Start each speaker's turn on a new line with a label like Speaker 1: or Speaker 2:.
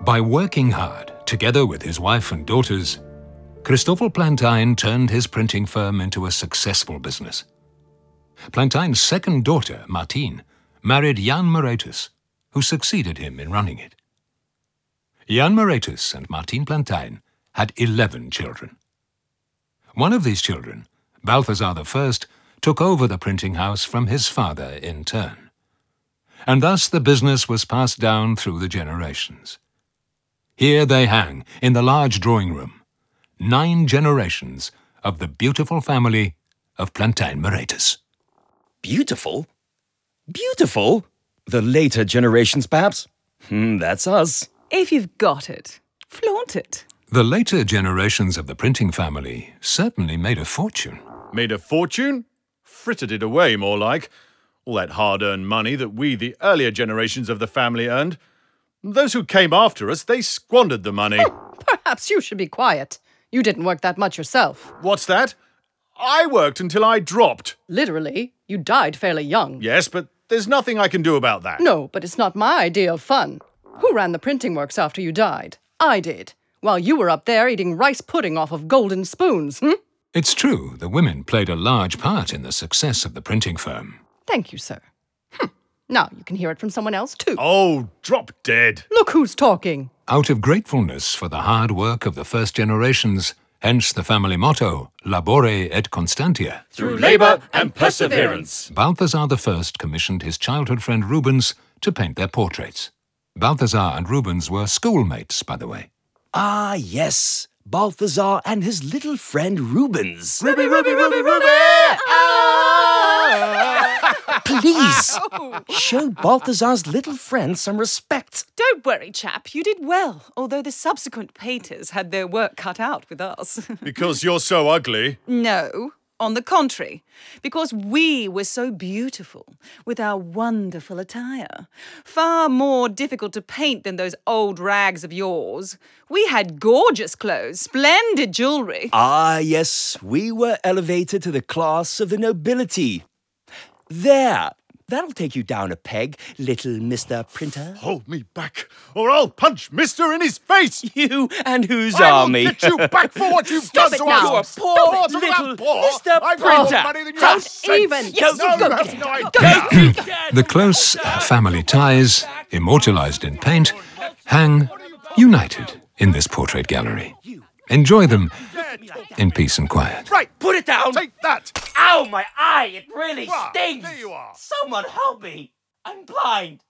Speaker 1: By working hard, together with his wife and daughters, Christoffel Plantain turned his printing firm into a successful business. Plantain's second daughter, Martine, married Jan Moretus, who succeeded him in running it. Jan Moretus and Martine Plantain had 11 children. One of these children, Balthazar I, took over the printing house from his father in turn. And thus the business was passed down through the generations. Here they hang in the large drawing room, nine generations of the beautiful family of Plantain Moretus.
Speaker 2: Beautiful? Beautiful? The later generations, perhaps? Hmm, that's us.
Speaker 3: If you've got it, flaunt it.
Speaker 1: The later generations of the printing family certainly made a fortune.
Speaker 4: Made a fortune? Frittered it away, more like. All that hard earned money that we, the earlier generations of the family, earned. Those who came after us, they squandered the money.
Speaker 3: Perhaps you should be quiet. You didn't work that much yourself.
Speaker 4: What's that? I worked until I dropped.
Speaker 3: Literally, you died fairly young.
Speaker 4: Yes, but there's nothing I can do about that.
Speaker 3: No, but it's not my idea of fun. Who ran the printing works after you died? I did. While you were up there eating rice pudding off of golden spoons, hmm?
Speaker 1: It's true, the women played a large part in the success of the printing firm.
Speaker 3: Thank you, sir. Hm. Now you can hear it from someone else, too.
Speaker 4: Oh, drop dead.
Speaker 3: Look who's talking.
Speaker 1: Out of gratefulness for the hard work of the first generations, hence the family motto, Labore et Constantia.
Speaker 5: Through labour and perseverance.
Speaker 1: Balthazar I commissioned his childhood friend Rubens to paint their portraits. Balthazar and Rubens were schoolmates, by the way.
Speaker 2: Ah, yes. Balthazar and his little friend Rubens.
Speaker 5: Ruby, Ruby, Ruby, Ruby!
Speaker 4: ah!
Speaker 2: Please, show Balthazar's little friend some respect.
Speaker 6: Don't worry, chap. You did well, although the subsequent painters had their work cut out with us.
Speaker 4: because you're so ugly.
Speaker 6: No, on the contrary, because we were so beautiful with our wonderful attire. Far more difficult to paint than those old rags of yours. We had gorgeous clothes, splendid jewellery.
Speaker 2: Ah, yes, we were elevated to the class of the nobility. There, that'll take you down a peg, little Mr. Printer.
Speaker 4: Hold me back, or I'll punch Mister in his face.
Speaker 2: You and whose
Speaker 4: I will
Speaker 2: army?
Speaker 4: get you back for what you've
Speaker 2: Stop
Speaker 4: done
Speaker 2: it
Speaker 4: to us.
Speaker 2: now.
Speaker 4: You're a
Speaker 2: Stop
Speaker 4: poor,
Speaker 2: it,
Speaker 4: sort of
Speaker 2: little
Speaker 4: a poor.
Speaker 2: Mr.
Speaker 4: I've got more
Speaker 2: Printer.
Speaker 4: money than you
Speaker 3: Don't
Speaker 4: have.
Speaker 3: even.
Speaker 2: Yes,
Speaker 4: No,
Speaker 2: go
Speaker 4: that's
Speaker 2: get
Speaker 4: no
Speaker 2: it.
Speaker 4: idea.
Speaker 1: The close uh, family ties, immortalized in paint, hang united in this portrait gallery. Enjoy them in peace and quiet.
Speaker 4: Right,
Speaker 5: Put it down!
Speaker 4: take that.
Speaker 5: Ow, my eye! It really
Speaker 4: Right,
Speaker 5: stings!
Speaker 4: there you are.
Speaker 5: Someone help me! I'm blind!